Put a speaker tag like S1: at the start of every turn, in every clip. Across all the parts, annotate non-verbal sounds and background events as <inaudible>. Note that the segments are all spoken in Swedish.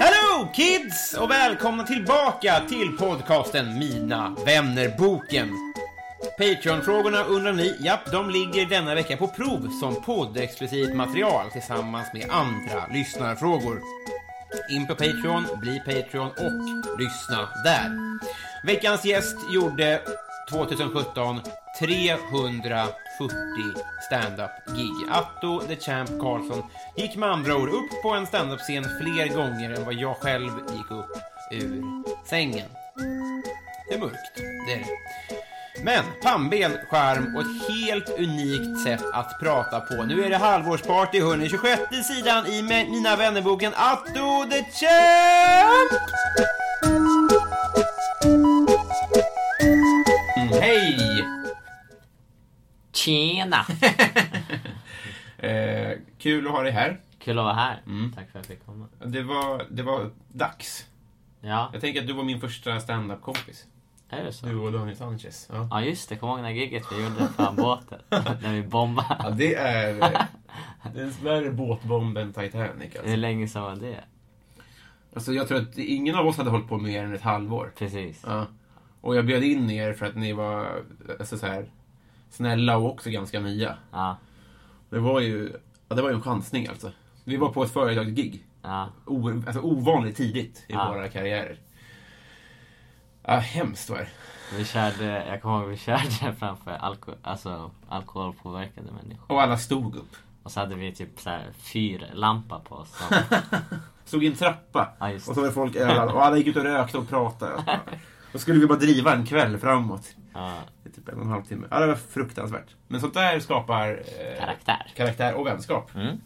S1: Hello kids och välkomna tillbaka till podcasten Mina vännerboken. Patreon-frågorna undrar ni, japp, de ligger denna vecka på prov som poddexklusivt material tillsammans med andra lyssnarfrågor. In på Patreon, bli Patreon och lyssna där. Veckans gäst gjorde 2017 340 stand-up-gig. Atto the Champ Karlsson gick med andra ord upp på en stand-up-scen fler gånger än vad jag själv gick upp ur sängen. Det är mörkt, det är det. Men pannben, skärm och ett helt unikt sätt att prata på. Nu är det halvårsparty, hörni. 26 sidan i Me- Mina vännerboken Atto the Champ! Mm, hej!
S2: Tjena!
S1: <laughs> Eh, kul att ha dig här.
S2: Kul att vara här.
S1: Mm.
S2: Tack för att jag fick komma.
S1: Det var, det var dags.
S2: Ja,
S1: Jag tänker att du var min första standup-kompis.
S2: är det så?
S1: Du och Daniel Sanchez. Ja.
S2: Ja just det, kom ihåg när gigget vi gjorde
S1: <laughs>
S2: fram båten? när vi bombade.
S1: det är... eh,
S2: <laughs>
S1: Det är värre båtbomb än Titanic
S2: Hur
S1: alltså.
S2: länge sedan var det?
S1: alltså. Jag tror att ingen av oss hade hållit på mer än ett halvår.
S2: Precis.
S1: Ja. Och jag bjöd in er för att ni var alltså, så här, snälla och också ganska nya.
S2: Ja.
S1: Det var ju, ja, det var ju en chansning alltså. Vi var på ett företagsgig.
S2: Ja.
S1: O, alltså ovanligt tidigt i
S2: Ja.
S1: våra karriärer. Ja, hemskt var det.
S2: Vi körde, jag kommer ihåg vi körde <laughs> framför alko, alltså, alkoholpåverkade människor.
S1: Och alla stod upp.
S2: Och så hade vi typ så här fyrlampa på oss. som-
S1: Stod i en trappa.
S2: Ja, just
S1: och så var det folk överallt. Och alla gick ut och rökte och
S2: <laughs>
S1: pratade. Då skulle vi bara driva en kväll framåt.
S2: Ja,
S1: I typ en och en halv timme. Ja, det var fruktansvärt. Men sånt där skapar eh,
S2: karaktär.
S1: karaktär och vänskap.
S2: Mm.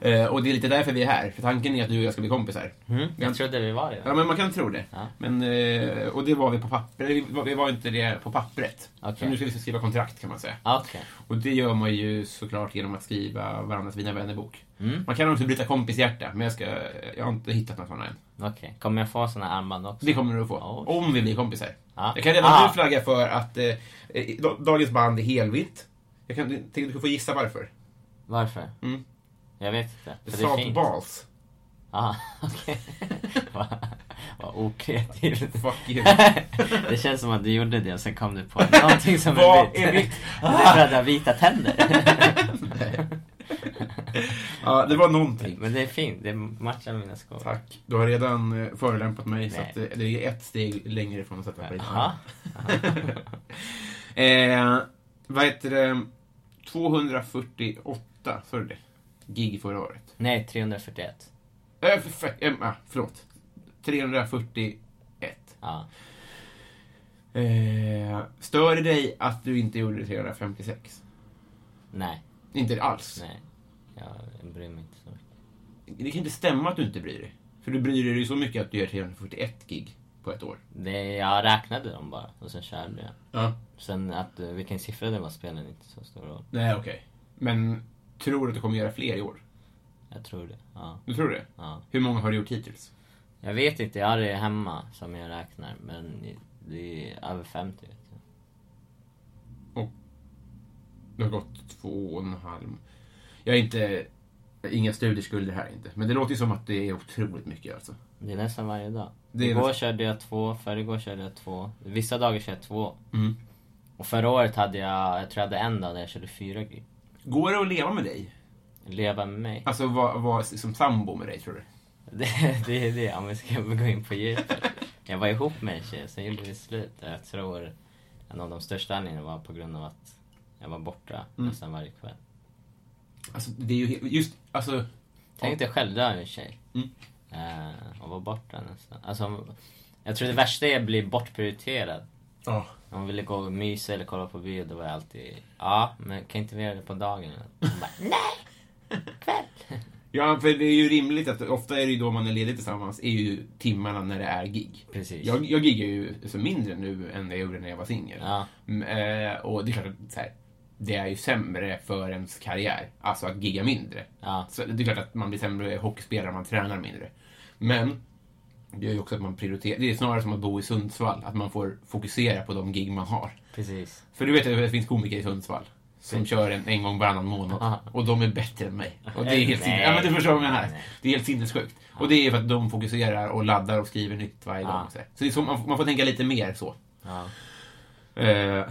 S1: Eh, och det är lite därför vi är här. För tanken är att du och jag ska bli kompisar.
S2: Mm, jag trodde vi var det.
S1: Ja, men man kan tro det.
S2: Ja.
S1: Men, eh, och det var vi på pappret. Vi var, vi var inte det på pappret.
S2: Okej.
S1: Så nu ska vi skriva kontrakt kan man säga.
S2: Okej.
S1: Och det gör man ju såklart genom att skriva varandras Mina vänner-bok.
S2: Mm.
S1: Man kan också bryta kompishjärta, men jag, ska, jag har inte hittat några sådana än.
S2: Okej. Kommer jag få såna armband också?
S1: Det kommer du att få.
S2: Oh.
S1: Om vi blir kompisar.
S2: Ja.
S1: Jag kan redan nu
S2: Ah.
S1: flagga för att eh, eh, da- dagens band är helvitt. Jag kan, tänkte du skulle få gissa varför.
S2: Varför?
S1: Mm.
S2: Jag vet inte. För det är
S1: Salt
S2: fint. <laughs>
S1: balls.
S2: Ah, okej. Vad- Vad
S1: <laughs>
S2: okreativt.
S1: Fuck you.
S2: det känns som att du gjorde det och sen kom du på någonting
S1: <laughs>
S2: som
S1: Vad
S2: är vitt.
S1: är vitt?
S2: <laughs> det är för att du har vita tänder.
S1: <laughs> ja, det var någonting.
S2: Men det är fint, det matchar mina skor.
S1: Tack. Du har redan eh, förolämpat mig så
S2: Nej.
S1: att, eh, det är ett steg längre ifrån att sätta på din
S2: Jaha.
S1: <laughs> eh, Vad heter det? 248, sa du det? Gig förra året.
S2: Nej, 341.
S1: Äh, för, för, eh, ah, förlåt. 341.
S2: Ja.
S1: Eh, stör det dig att du inte gjorde 356?
S2: Nej,
S1: Inte alls.
S2: nej. Jag bryr mig inte så mycket.
S1: Det kan inte stämma att du inte bryr dig. För du bryr dig ju så mycket att du gör 341 gig på ett år.
S2: Det, jag räknade dem bara och sen körde jag.
S1: Ja.
S2: Sen att eh, vilken siffra det var spelade inte så stor roll.
S1: Nej, okej. Men tror du att du kommer göra fler i år?
S2: Jag tror det. Ja.
S1: Du tror det?
S2: ja.
S1: Hur många har du gjort hittills?
S2: Jag vet inte, jag har det hemma som jag räknar. Men det är över 50 vet jag.
S1: Det har gått två och en halv. Jag är inte... Inga studieskulder här inte. Men det låter ju som att det är otroligt mycket alltså.
S2: Det är nästan varje dag.
S1: Det är
S2: Igår
S1: nästan-
S2: körde jag två, förrgår körde jag två. Vissa dagar kör jag två.
S1: Mm.
S2: Och förra året hade jag, jag tror jag hade en dag där jag körde fyra gig.
S1: Går det att leva med dig?
S2: Leva med mig.
S1: Alltså vara var, som sambo med dig tror du?
S2: Det, <laughs> det är det, om vi ska gå in på djupet. Jag var ihop med en tjej, sen gjorde vi slut. Jag tror en av de största anledningarna var på grund av att jag var borta
S1: Mm.
S2: nästan varje kväll.
S1: Alltså det är ju he- just... Alltså...
S2: Tänk dig själv, du har en tjej.
S1: Mm.
S2: Eh, och var borta nästan. Alltså, jag tror det värsta är att bli bortprioriterad.
S1: Ja.
S2: Om vi ville gå och mysa eller kolla på bio, då var jag alltid ja, men kan inte vi göra det på dagen? Och hon bara,
S1: Ja, för det är ju rimligt att ofta är det ju då man är ledig tillsammans, är ju timmarna när det är gig.
S2: Precis.
S1: Jag, jag giggar ju så mindre nu än jag gjorde när jag var singel.
S2: Ja.
S1: Mm, eh, och det är klart att så här, det är ju sämre för ens karriär, alltså att gigga mindre.
S2: Ja.
S1: Så det är klart att man blir sämre hockeyspelare om man tränar mindre. Men det är ju också att man prioriterar, det är snarare som att bo i Sundsvall, att man får fokusera på de gig man har.
S2: Precis.
S1: För du vet att det finns komiker i Sundsvall som kör en, en gång varannan månad
S2: Aha.
S1: och de är bättre än mig. Och det är helt
S2: Nej.
S1: sinnes- ja, men du förstår vad jag menar.
S2: Nej.
S1: Det är helt sinnessjukt. Och det är för att de fokuserar och laddar och skriver nytt varje
S2: Ja.
S1: gång. Så, här. så, det är så man, får- man får tänka lite mer så.
S2: Ja.
S1: Eh,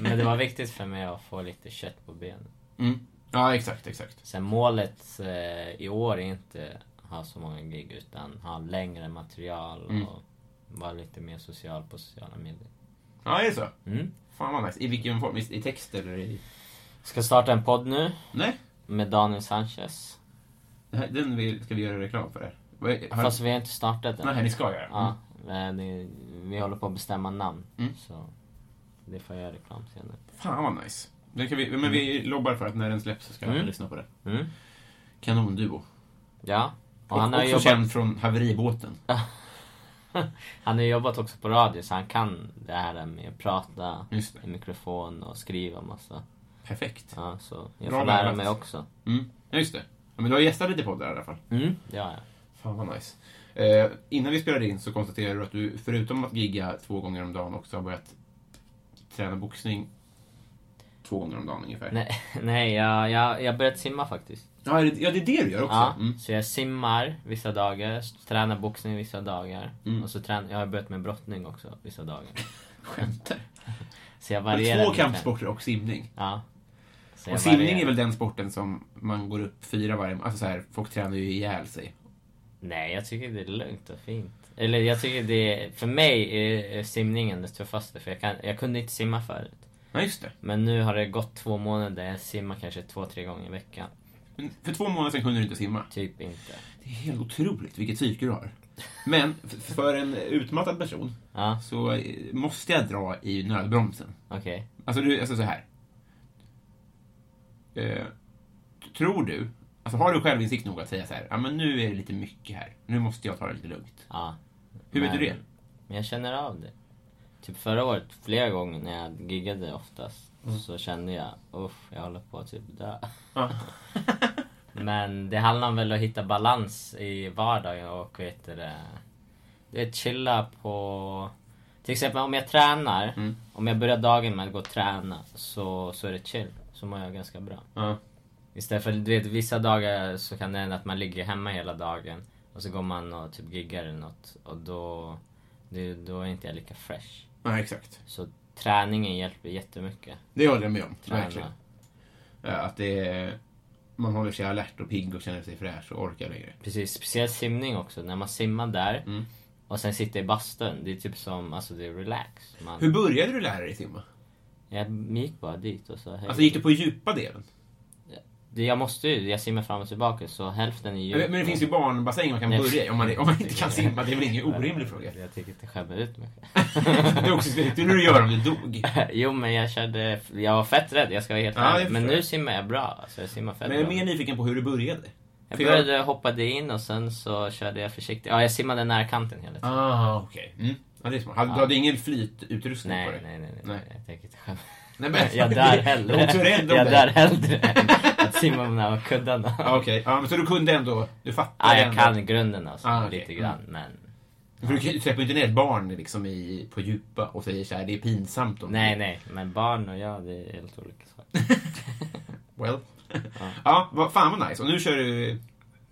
S2: Men det var viktigt för mig att få lite kött på benen.
S1: mm. Ja, exakt, exakt.
S2: Sen målet eh, i år är inte att ha så många gig utan ha längre material
S1: Mm.
S2: och vara lite mer social på sociala medier.
S1: Ja, är det så?
S2: Mm.
S1: Fan vad nice. I vilken form? I, i text eller i...
S2: Ska starta en podd nu
S1: Nej,
S2: med Daniel Sanchez.
S1: det här, den vill, ska vi göra reklam för. Här. Vad är- Har,
S2: Fast vi har inte startat den.
S1: Nej, ni ska göra.
S2: Ja, eh, det, vi håller på att bestämma namn.
S1: Mm.
S2: Så det får jag göra reklam senare.
S1: Fan vad nice. Den kan vi, men vi lobbar för att när den släpps så ska
S2: Mm.
S1: vi lyssna på den.
S2: Mm.
S1: Kanonduo.
S2: Ja. Och
S1: Och,
S2: han, har
S1: också
S2: jobbat,
S1: känd från haveribåten.
S2: han har jobbat också på radio så han kan det här med att prata
S1: Just det.
S2: i mikrofon och skriva massa.
S1: Perfekt.
S2: Ja, så jag
S1: Bra
S2: får
S1: lärare.
S2: lära mig också.
S1: Mm. Ja, just det. Ja, men du har gästat lite poddar i alla fall.
S2: Mm. Det har jag.
S1: Fan vad nice. Eh, innan vi spelade in så konstaterade du att du förutom att gigga två gånger om dagen också har börjat träna boxning två gånger om dagen ungefär.
S2: Nej, <laughs> nej jag, jag, jag har börjat simma faktiskt.
S1: Ja, är det, ja, det är det du gör också.
S2: Ja,
S1: Mm.
S2: Så jag simmar vissa dagar, tränar boxning vissa dagar.
S1: Mm.
S2: Och så tränar, jag har börjat med brottning också vissa dagar.
S1: Skämtar
S2: Så jag
S1: du?
S2: varierar
S1: Två
S2: lite.
S1: kampsporter och simning.
S2: Ja. Så
S1: Och
S2: jag
S1: simning
S2: varierar.
S1: är väl den sporten som man går upp fyra varje Alltså så här, folk tränar ju ihjäl sig.
S2: Nej, jag tycker det är lugnt och fint. Eller jag tycker det är, för mig är är simningen det tuffaste för jag, kan, jag kunde inte simma förut.
S1: Ja, just det.
S2: Men nu har det gått två månader där jag simmar kanske två, tre gånger i veckan.
S1: Men för två månader sedan kunde du inte simma.
S2: Typ inte.
S1: Det är helt otroligt vilket psyke du har. Men f- för en utmattad person
S2: Ja,
S1: så eh, måste jag dra i nödbromsen.
S2: okej.
S1: Alltså, du, alltså så här. Eh, tror du, alltså har du självinsikt nog att säga så här, ja men nu är det lite mycket här, nu måste jag ta det lite lugnt.
S2: Ja.
S1: Hur vet
S2: Men-
S1: du det?
S2: Men jag känner av det. Typ förra året, flera gånger när jag giggade oftast, så kände jag uff, jag håller på att typ dö.
S1: Mm. Ja.
S2: <laughs> Men det handlar väl om att hitta balans i vardagen och vet du det... Det är chilla på... Till exempel om jag tränar,
S1: Mm.
S2: om jag börjar dagen med att gå och träna så, så är det chill. Så mår jag ganska bra.
S1: Ja.
S2: Istället för, du vet, vissa dagar så kan det hända att man ligger hemma hela dagen och så går man och typ giggar eller något och då, det, då är inte jag lika fresh.
S1: ja, exakt.
S2: Så träningen hjälper jättemycket.
S1: Det håller jag med om.
S2: Träna.
S1: Verkligen. Ja, att det är, man håller sig alert och pigg och känner sig fräsch och orkar längre.
S2: Precis, speciellt simning också. När man simmar där
S1: Mm.
S2: och sen sitter i bastun, det är typ som, alltså det är relax. Man,
S1: Hur började du lära dig simma?
S2: jag gick bara dit och så... hej.
S1: Alltså gick du på djupa delen?
S2: Det- Jag måste ju, jag simmar fram och tillbaka så hälften är ju...
S1: Men, men det finns ju barnbassäng man kan
S2: Nej.
S1: börja i om man, om man inte kan simma. Det är väl ingen orimlig fråga.
S2: Jag tänker inte skämma ut mig själv.
S1: Det är också skulle du hur gör om du dog.
S2: <laughs> Jo men jag körde, jag var fett rädd, jag ska vara helt
S1: Ja,
S2: ärlig.
S1: jag
S2: Men
S1: förstår.
S2: nu simmar jag bra, alltså jag simmar fett
S1: Men jag är
S2: bra.
S1: mer nyfiken på hur du började.
S2: Jag
S1: För jag-
S2: började, hoppade in och sen så körde jag försiktigt. Ja, jag simmade nära kanten hela tiden.
S1: Ah, okej. Mm. Ja, det är smart. Hade- Du hade ingen flytutrustning på
S2: nej,
S1: dig?
S2: nej, nej, nej,
S1: Nej.
S2: Jag tänker inte skämma. <laughs>
S1: Nej, men-
S2: Jag
S1: <laughs>
S2: dör
S1: Jag är
S2: hellre.
S1: också rädd om
S2: jag
S1: det.
S2: dör hellre än att simma nära kuddarna.
S1: Ah, okej. Ja, men så du kunde ändå... Du fattade
S2: Ja, jag
S1: ändå.
S2: kan grunden alltså,
S1: Ah, okej.
S2: lite grann. Men
S1: För du kan- du släpper ju inte ner ett barn liksom i, på djupa och säger så här, det är pinsamt om
S2: nej, nej. Men barn och jag, det är helt olika saker.
S1: <laughs> Well. <laughs> Ja, vad, fan vad nice. Och nu kör du...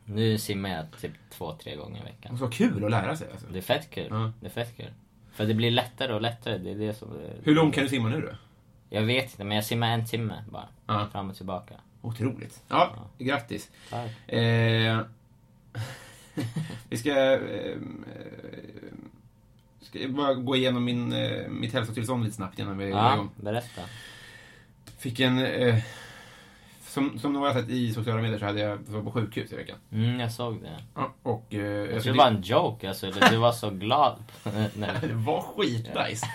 S2: Nu simmar jag typ två, tre gånger i veckan.
S1: Så kul att lära sig alltså.
S2: Det är fett kul.
S1: Ja.
S2: Det är fett kul. För det blir lättare och lättare. Det är det som...
S1: Hur långt kan du simma nu då?
S2: Jag vet inte, men jag simmar en timme bara.
S1: Ja.
S2: Fram och tillbaka.
S1: Otroligt. Ja, grattis.
S2: Tack.
S1: Eh, <laughs> vi ska, eh, eh, ska jag bara gå igenom min, eh, mitt hälsotillstånd lite snabbt innan vi drar
S2: Ja,
S1: igång.
S2: berätta.
S1: Fick en... Eh, som, som några har sett i sociala medier så hade jag var på sjukhus i veckan.
S2: Mm, jag såg det.
S1: Ja, och, eh,
S2: Jag
S1: så
S2: trodde det var en joke alltså. Eller du var så glad. <laughs>
S1: det
S2: Nej.
S1: var
S2: <laughs>
S1: skitnice.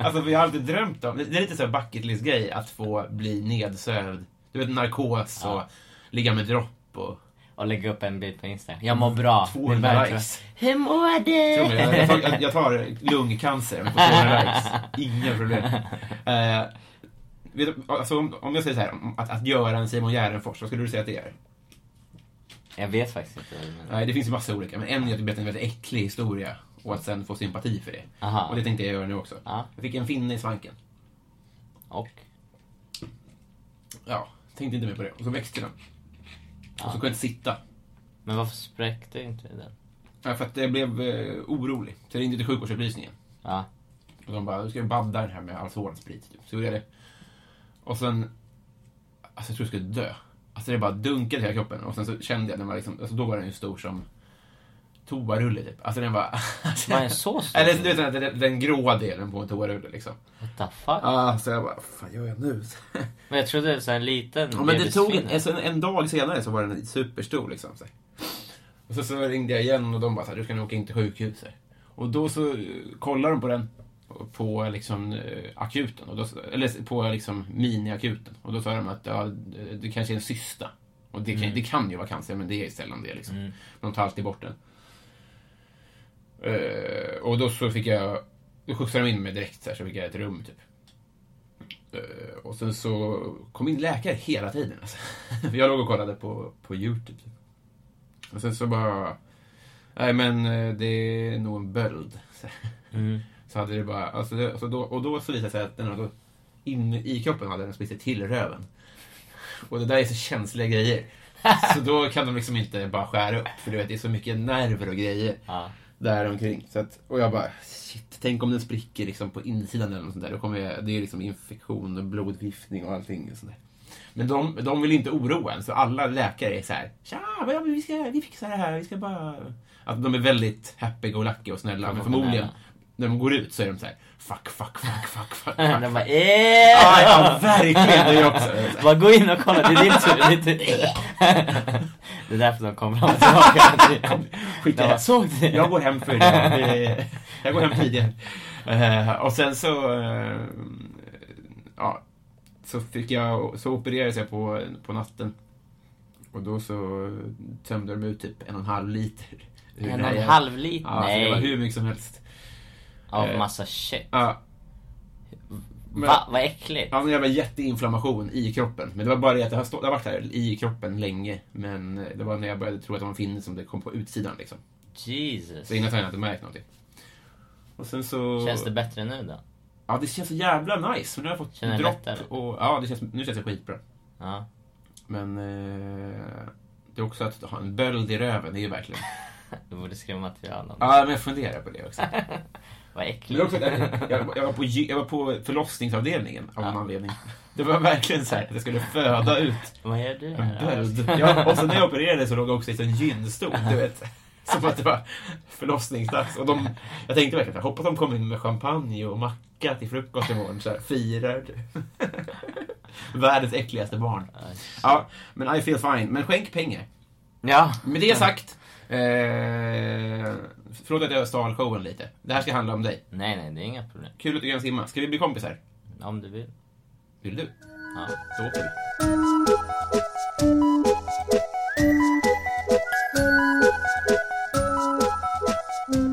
S1: alltså, för jag har alltid drömt om... Det är lite så här bucket list-grej att få bli nedsövd. Du vet, narkos och ligga med dropp och...
S2: Och lägga upp en bild på Instagram. Jag mår bra.
S1: 200
S2: Det är bra.
S1: likes.
S2: Hur mår du?
S1: Tror mig, Jag, jag, tar, jag tar lungcancer om jag får 200 likes. Inga problem. Eh, vet du, alltså, om, om jag säger så här, om att, att göra en Simon Gärdenfors, vad skulle du säga att det är?
S2: <laughs> Jag vet faktiskt inte. vad du menar.
S1: Nej, det finns ju massa olika, men en jag tycker är en väldigt äcklig historia och att sen få sympati för det.
S2: Aha.
S1: Och det tänkte jag göra nu också.
S2: Ja.
S1: Jag fick en finne i svanken.
S2: Och?
S1: Ja, tänkte inte mer på det. Och så växte den. Och så kunde jag inte sitta.
S2: Men varför spräckte inte den?
S1: Ja, för att jag blev eh, orolig. Så jag ringde till sjukvårdsupplysningen.
S2: Ja.
S1: <laughs> Och de bara, du ska ju badda den här med alkoholsprit. Typ. Så gjorde jag det. Och sen, alltså jag tror jag skulle dö. Alltså det bara dunkade i hela kroppen. Och sen så kände jag, den var liksom, alltså då var den ju stor som toarulle typ. Alltså den <laughs> var... Alltså,
S2: Var den så stor?
S1: Eller du vet den, den, den gråa delen på en toarulle liksom.
S2: What the fuck?
S1: Ah, så jag bara, vad fan gör jag nu? <laughs>
S2: Men jag trodde det var så här en liten
S1: ja, men det tog en,
S2: bebisfinne.
S1: alltså, en, en dag senare så var den superstor liksom. Så. här. Och så, så ringde jag igen och de bara, så här, du ska nog åka in till sjukhuset. Och då så eh, kollar de på den på liksom eh, akuten, och då, eller på liksom miniakuten. Och då sa de att ja, det- det kanske är en cysta. Och det kan, det kan ju vara cancer, men det är sällan det. Liksom. De tar alltid bort den. Eh, och då så fick jag, då skjutsade de in mig direkt så, här, så fick jag ett rum typ. Eh, och sen så kom in läkare hela tiden. Alltså. <laughs> För jag låg och kollade på, på Youtube. Och sen så bara, nej men eh, det är nog en böld. <laughs> Så,
S2: Mm.
S1: så hade det bara, alltså, det, alltså då, och då så visade det sig att den hade, in i kroppen hade den spritt sig till röven. Och det där är så känsliga grejer. Så då kan de liksom inte bara skära upp, för du vet, det är så mycket nerver och grejer
S2: Ja. <laughs>
S1: där omkring. Så att, och jag bara, shit, tänk om den spricker liksom på insidan eller något sånt där. Då kommer jag, det är liksom infektion och blodförgiftning och allting. Och sånt där. Men de, de vill inte oroa en, så alla läkare är så här, tja, men ja, men vi, ska, vi fixar det här, vi ska bara... Att de är väldigt happy-go-lucky och snälla, men förmodligen, när de går ut så är de så här, fuck, fuck, fuck, fuck, fuck. fuck.
S2: Den bara eh!
S1: Ja, ja, verkligen,
S2: <laughs>
S1: det är också.
S2: Bara gå in och kolla, det är din tur. Det är, din tur. det är därför de kommer fram och tillbaka.
S1: Skit i
S2: Ja,
S1: det.
S2: såg det.
S1: Jag går hem för
S2: <laughs>
S1: idag. Det- Jag går hem tidigare. Eh, Och sen så... eh, Ja, så fick jag... Så opererades jag på, på natten. Och då så tömde de ut typ en och en halv liter. ur
S2: En
S1: det
S2: och
S1: här
S2: en
S1: jävla-
S2: halv liter?
S1: Ja, så det var
S2: Nej.
S1: hur mycket som helst.
S2: Av
S1: eh,
S2: massa shit.
S1: Ja, men-
S2: Va? Vad äckligt.
S1: alltså jag var jätteinflammation i kroppen. Men det var bara det att det har, stått, det har varit här i kroppen länge. Men det var när jag började tro att det var en finne som det kom på utsidan liksom.
S2: Jesus.
S1: Så innan har jag inte märkt någonting. Och sen så...
S2: Känns det bättre nu då?
S1: Ja, det känns så jävla nice. Nu har jag fått
S2: Känner du lättare?
S1: dropp och... Ja, det känns, nu känns det skitbra.
S2: Ja.
S1: Men... Eh, det är också att ha en böld i röven, det är ju verkligen...
S2: Du borde skriva material om det.
S1: Ja, men jag funderar på
S2: <laughs>
S1: det också.
S2: Vad
S1: Men det är också
S2: äckligt.
S1: att jag, jag, var på, gy- jag var på förlossningsavdelningen av någon anledning. Det var verkligen så här att jag skulle föda ut
S2: Vad gör du
S1: en
S2: här? då?
S1: böld. Ja, och sen när jag opererade så låg jag också i en gynstol, du vet. Som att det var förlossningsdags. Och de, jag tänkte verkligen, jag hoppas de kommer in med champagne och macka till frukost imorgon. Så här, firar. Världens äckligaste barn. Ja, men I feel fine. Men skänk pengar.
S2: Ja.
S1: Med det sagt. Eh, förlåt att jag stal showen lite. Det här ska handla om dig.
S2: Nej, nej, det är inga problem.
S1: Kul att du kan simma. Ska vi bli kompisar?
S2: Om du vill.
S1: Vill du?
S2: Ja.
S1: Då åker vi.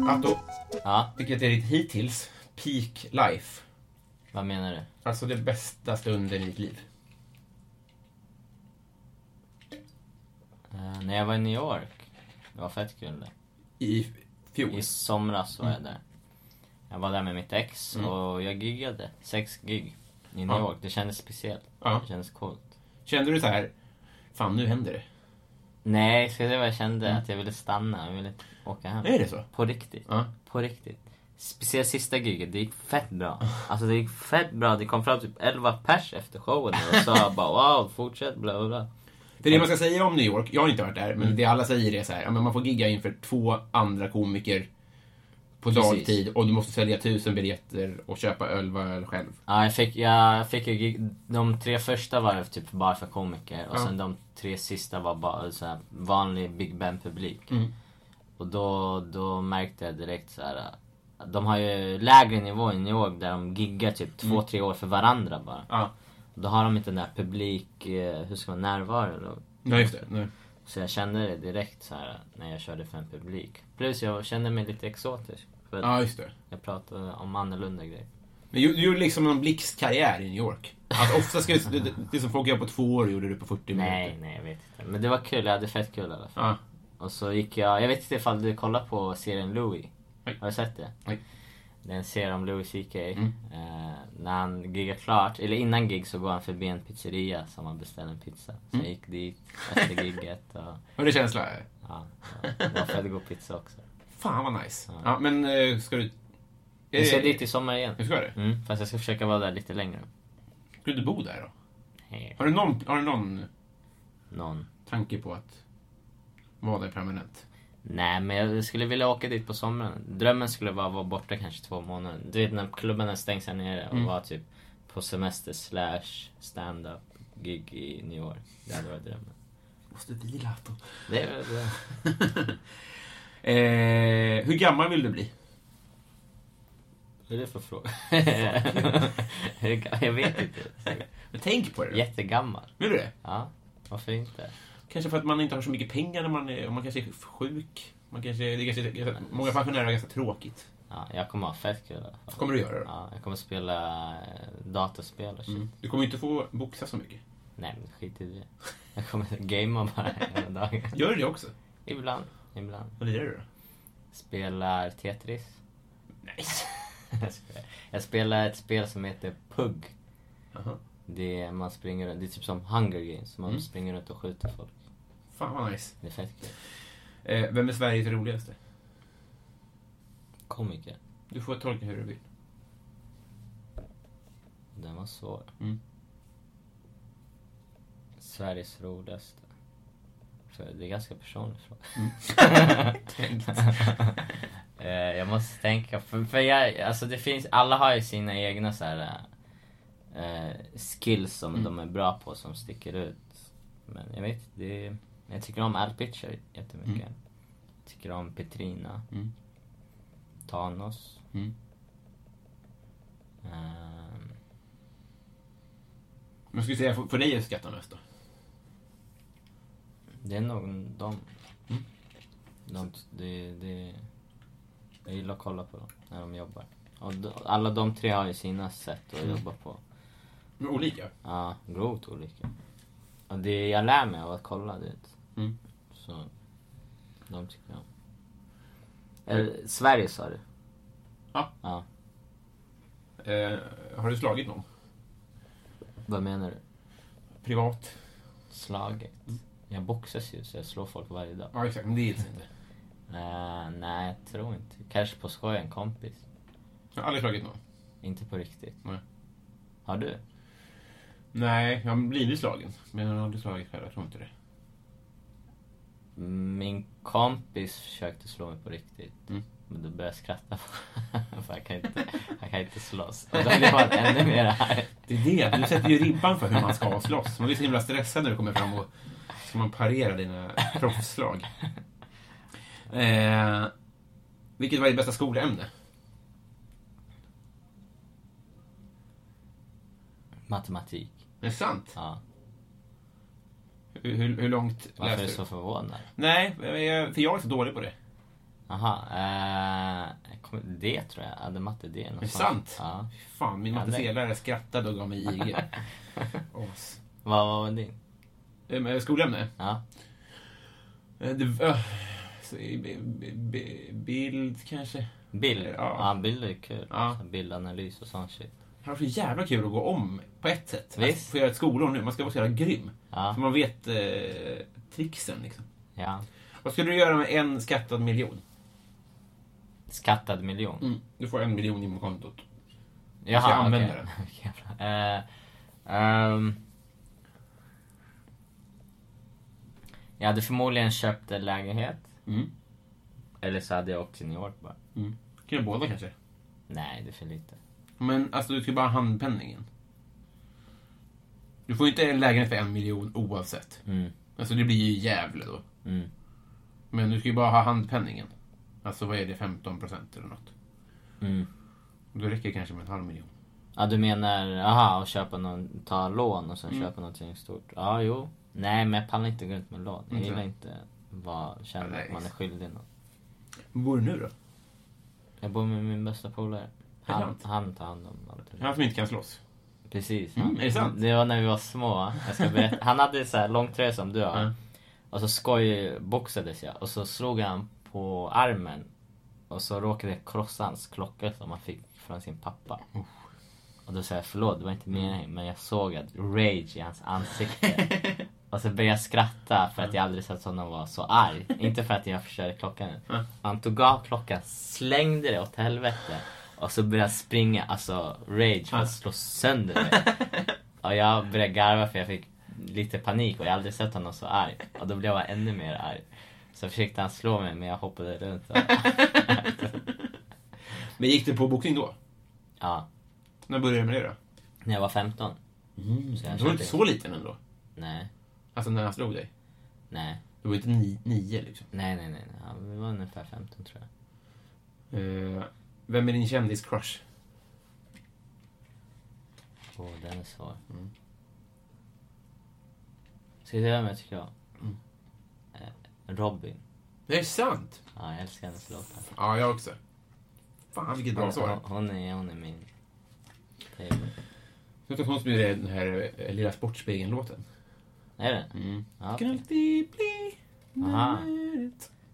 S1: Atto,
S2: Ja,
S1: vilket är ditt hittills peak life?
S2: vad menar du?
S1: Alltså det bästa stunden i ditt liv.
S2: Eh, när jag var i New York. Det var fett kul det.
S1: I fjol.
S2: I
S1: Mm.
S2: somras var jag där. Jag var där med mitt ex och jag giggade. Sex gig. i New York. Det kändes speciellt.
S1: Ja.
S2: Det kändes coolt.
S1: Kände du så här, fan nu händer det?
S2: Nej, ska jag säga vad jag kände?
S1: Mm.
S2: Att jag ville stanna. Jag ville åka hem.
S1: Är det så?
S2: På riktigt.
S1: Eh. Ja.
S2: På riktigt. Speciellt sista giget, det gick fett bra. Alltså det gick fett bra. Det kom fram typ 11 pers efter showen och sa
S1: <laughs>
S2: bara wow, fortsätt bla bla bla.
S1: Det är det man ska säga om New York. Jag har inte varit där, men det alla säger är så här, ja, men man får gigga inför två andra komiker på
S2: Precis.
S1: dagtid och du måste sälja tusen biljetter och köpa öl var öl själv.
S2: Ja, jag fick, jag, jag fick ju gig- de tre första var typ bara för komiker och
S1: Ja.
S2: sen de tre sista var bara så här, vanlig Big Ben-publik.
S1: Mm.
S2: Och då, då märkte jag direkt så här. att De har ju lägre nivå i New York där de giggar typ två,
S1: Mm.
S2: tre år för varandra bara.
S1: Ja,
S2: Då har de inte den där publik, eh, hur ska man närvaro då?
S1: nej just det. Nej.
S2: Så jag kände det direkt så här när jag körde för en publik. Plus jag kände mig lite exotisk. För att
S1: Ja, just det.
S2: jag pratade om annorlunda grejer.
S1: Men du, du gjorde liksom en blixtkarriär i New York. Alltså, ofta ska det, det, det som folk gör på två år gjorde du på 40
S2: Nej,
S1: minuter.
S2: nej jag vet inte. Men det var kul, jag hade fett kul i alla fall.
S1: Ja.
S2: Och så gick jag, jag vet inte ifall du kollar på serien Louis?
S1: Nej.
S2: Har du sett det?
S1: Nej. Mm.
S2: Det är en serie om Louis CK. Eh, när han giggar klart, eller innan gig så går han förbi en pizzeria som han beställer en pizza. Så
S1: Mm.
S2: jag gick dit efter gigget och
S1: Har du känsla?
S2: ja, det var fett god pizza också.
S1: Fan vad nice. Ja, men eh, ska du...
S2: Jag ska
S1: typ-
S2: dit i sommar igen.
S1: Du ska det?
S2: Mm, fast jag ska försöka vara där lite längre.
S1: Ska du bo där då?
S2: Hej.
S1: Har du någon, har du någon
S2: Någon.
S1: tanke på att vara där permanent?
S2: Nej, men jag skulle vilja åka dit på sommaren. Drömmen skulle vara att vara borta kanske två månader. Du vet när klubbarna stängs här nere
S1: Mm.
S2: och vara typ på semester slash stand-up gig i New York. Det hade varit drömmen.
S1: Måste vila, Anton.
S2: Det är väl det.
S1: Eh, hur gammal vill du bli?
S2: Vad är det för fråga? <laughs> jag vet inte.
S1: Men tänk på det. då.
S2: Jättegammal.
S1: Vill du det?
S2: Ja, varför inte?
S1: Kanske för att man inte har så mycket pengar när man är, och man kanske är sjuk. Man kanske, det kanske, många pensionärer har ganska tråkigt.
S2: Ja, jag kommer ha fett kul. i alla fall.
S1: Kommer du göra det? Mm.
S2: Ja, jag kommer spela eh, datorspel och shit.
S1: Du kommer ju inte få boxa så mycket.
S2: Nej, men skit i det. Jag
S1: <laughs>
S2: kommer gamea bara hela dagen.
S1: Gör du det också?
S2: Ibland, ibland.
S1: Vad lirar du då?
S2: Spelar Tetris. <laughs>
S1: Nej.
S2: Jag spelar- Jag spelar ett spel som heter Pug.
S1: Jaha.
S2: Det är, man springer, runt- det är typ som Hunger Games, man springer runt och skjuter folk.
S1: Fan vad nice.
S2: Det är fett kul.
S1: Eh, vem är Sveriges roligaste?
S2: Komiker.
S1: Du får tolka hur du vill.
S2: Den var svår.
S1: Mm.
S2: Sveriges roligaste. För det är ganska personlig fråga.
S1: Mm.
S2: <laughs> Eh, jag måste tänka, för, för jag, alltså det finns, alla har ju sina egna så här, eh, skills som de är bra på som sticker ut. Men jag vet det, jag tycker om Al Pitcher jättemycket. Tycker om Petrina.
S1: Mm.
S2: Thanos.
S1: Mm.
S2: Ehm,
S1: Men skulle säga, för, för dig är skrattar mest då?
S2: Det är nog de. de det, det, jag gillar att kolla på dem när de jobbar. Och d- alla de tre har ju sina sätt att jobba på.
S1: Men olika?
S2: Ja, grovt olika. Och det jag lär mig av att kolla det.
S1: Mm.
S2: Så, de tycker jag om. Eller, Sverige sa du?
S1: Ja.
S2: Ja,
S1: Eh, har du slagit någon?
S2: vad menar du? Mm.
S1: Privat?
S2: Slaget? Jag boxas ju så jag slår folk varje dag.
S1: Ja, exakt. Men det gills inte.
S2: Eh, nej, jag tror inte. Kanske på skoj, en kompis.
S1: Jag har aldrig slagit någon.
S2: Inte på riktigt.
S1: Nej.
S2: Har du?
S1: Nej, jag har blivit slagen. Men jag har aldrig slagit själv. Jag tror inte det.
S2: Min kompis försökte slå mig på riktigt.
S1: Mm.
S2: Men då började jag skratta. <laughs> För jag kan inte, jag kan inte slåss. Och då blev han ännu mer arg.
S1: Det är det, du sätter ju ribban för hur man ska slåss. Man blir så himla stressad när du kommer fram och ska man parera dina proffsslag. Eh, vilket var ditt bästa skolämne?
S2: Matematik.
S1: Är det sant?
S2: Ja.
S1: Hur, hur, hur långt
S2: Varför är
S1: läste
S2: du
S1: du?
S2: så förvånad?
S1: Nej, eh, för jag är så dålig på det.
S2: Jaha. Eh, jag kommer- det tror jag. Jag hade matte D.
S1: Är det sant?
S2: Ja.
S1: Fan, min
S2: Ja,
S1: matteselärare skrattade och gav mig
S2: <laughs>
S1: IG. As.
S2: Vad vad var din?
S1: Eh, men Skolämne?
S2: Ja.
S1: Eh, Det, öh, så, i- b, b, b, bild kanske?
S2: Bild.
S1: Ja.
S2: Ja, bild är kul.
S1: Ja.
S2: Så Bildanalys och sånt shit.
S1: Det hade varit så jävla kul att gå om på ett sätt.
S2: Visst.
S1: Få göra ett skolår nu. Man ska vara så jävla grym.
S2: Ja.
S1: Så man vet eh, tricksen liksom.
S2: Ja.
S1: Vad skulle du göra med en skattad miljon?
S2: Skattad miljon.
S1: Du får en miljon in på kontot.
S2: Jaha,
S1: Mm. ska använda
S2: <laughs> okej. Jävlar. Eh, ehm. jag hade förmodligen köpt en lägenhet.
S1: Mm.
S2: Eller så hade jag åkt till New York bara.
S1: Mm. Kan ju båda kanske.
S2: Nej, det är för lite.
S1: Men alltså du ska bara ha handpenningen. Du får ju inte en lägenhet för en miljon oavsett.
S2: Mm.
S1: Alltså det blir ju Gävle då.
S2: Mm.
S1: Men du ska ju bara ha handpenningen. Alltså vad är det, 15 procent eller något.
S2: Mm.
S1: Då räcker det kanske med en halv miljon.
S2: Ja, du menar, aha, och köpa någon, ta lån och sen
S1: Mm.
S2: köpa någonting stort. Ja, jo. Nej, men jag pallar inte gå runt med lån. Jag
S1: Inte?
S2: gillar inte vad känna
S1: Ja, nej.
S2: att man är skyldig någon.
S1: Var bor du nu då?
S2: Jag bor med min bästa polare.
S1: det
S2: Han,
S1: sant?
S2: han tar hand om allt.
S1: Han som inte kan slåss.
S2: Precis.
S1: Mm, är det sant?
S2: Det var när vi var små. Jag ska berätta. Han hade så här långtröja som du har.
S1: Ja.
S2: Och så skojboxades jag och så slog han på armen. Och så råkade jag krossa hans klocka som han fick från sin pappa. Och då sa jag förlåt, det var inte meningen. Men jag såg att rage i hans ansikte. och så började jag skratta för att jag aldrig sett honom vara så arg. inte för att jag förstörde klockan.
S1: Ja.
S2: Han tog av klockan, slängde det åt helvete. Och så började jag springa, alltså rage, för att slå sönder det. Och jag började garva för jag fick lite panik och jag har aldrig sett honom så arg. Och då blev jag bara ännu mer arg. Så försökte han slå mig men jag hoppade runt. Och,
S1: Men gick du på bokning då?
S2: ja,
S1: När började du med det då?
S2: när jag var 15. Så jag
S1: Du var inte
S2: köpte,
S1: Mm, så liten ändå.
S2: nej,
S1: Alltså när han slog dig.
S2: nej,
S1: Du var inte ni- nio liksom.
S2: nej, nej, nej. Ja, vi var ungefär 15 tror jag.
S1: Eh, vem är din kändis-crush?
S2: Åh, den är svår.
S1: Mm.
S2: Ska jag säga vem jag tycker om?
S1: Mm.
S2: Eh, Robin.
S1: Det är sant!
S2: Ja, jag älskar hennes låtar.
S1: Ja, jag också. Fan vilket bra
S2: Hon,
S1: svar.
S2: hon, är, hon är min favorite.
S1: Jag tror att hon som gjorde den här eh, Lilla Sportspegeln-låten.
S2: Är det? Ja,
S1: Kan
S2: okej.
S1: alltid bli
S2: Aha.
S1: nöjd.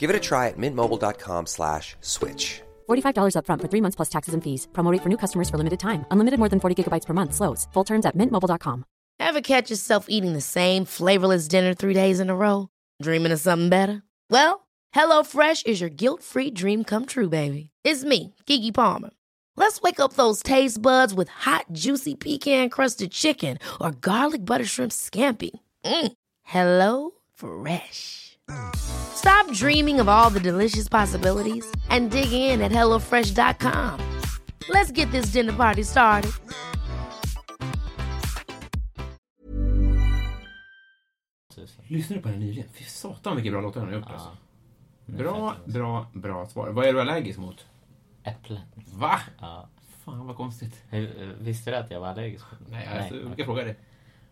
S3: Give it a try at mintmobile.com slash switch.
S4: $45 upfront for three months plus taxes and fees. Promo rate for new customers for limited time. Unlimited more than 40 gigabytes per month. Slows. Full terms at mintmobile.com.
S5: Ever catch yourself eating the same flavorless dinner three days in a row? Dreaming of something better? Well, HelloFresh is your guilt free dream come true, baby. It's me, Gigi Palmer. Let's wake up those taste buds with hot, juicy pecan crusted chicken or garlic butter shrimp scampi. Mm. Hello Fresh. Stop dreaming of all the delicious possibilities and dig in at HelloFresh.com. Let's get this dinner party started.
S1: Lyssnar du på den nyligen? Fy satan vilken bra låt han har gjort alltså. Bra,
S2: fett.
S1: bra, bra svar. Vad är du allergisk mot?
S2: Äpplen.
S1: Va?
S2: Ja.
S1: Fan vad konstigt.
S2: Hur- Visste du att jag var allergisk? mot-
S1: Nej, alltså, jag brukar
S2: okej.
S1: fråga det.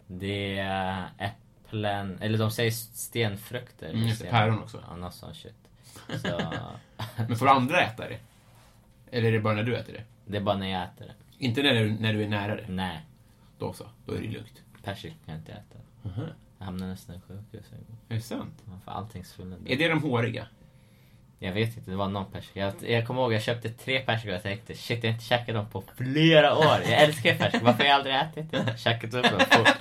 S2: Det är äpplen, eller de säger stenfrukter.
S1: Mm, just det,
S2: Sten-
S1: päron också.
S2: Ja, något sånt shit. Så, <laughs>
S1: Men får andra äta det? Eller är det bara när du äter det?
S2: det är bara när jag äter det.
S1: Inte när du, när du är nära det.
S2: Nej,
S1: Då så. Då är det lugnt.
S2: persika kan jag inte äta.
S1: Aha.
S2: Jag hamnade nästan i sjukhus en gång.
S1: Är det sant?
S2: Man får allting svullet.
S1: Är det de håriga?
S2: Jag vet inte, det var någon persika. Jag, jag kommer ihåg jag köpte tre persikor och jag tänkte shit jag har inte käkat dem på flera år. Jag älskar persikor, varför har jag aldrig ätit det? Käkat upp dem fort.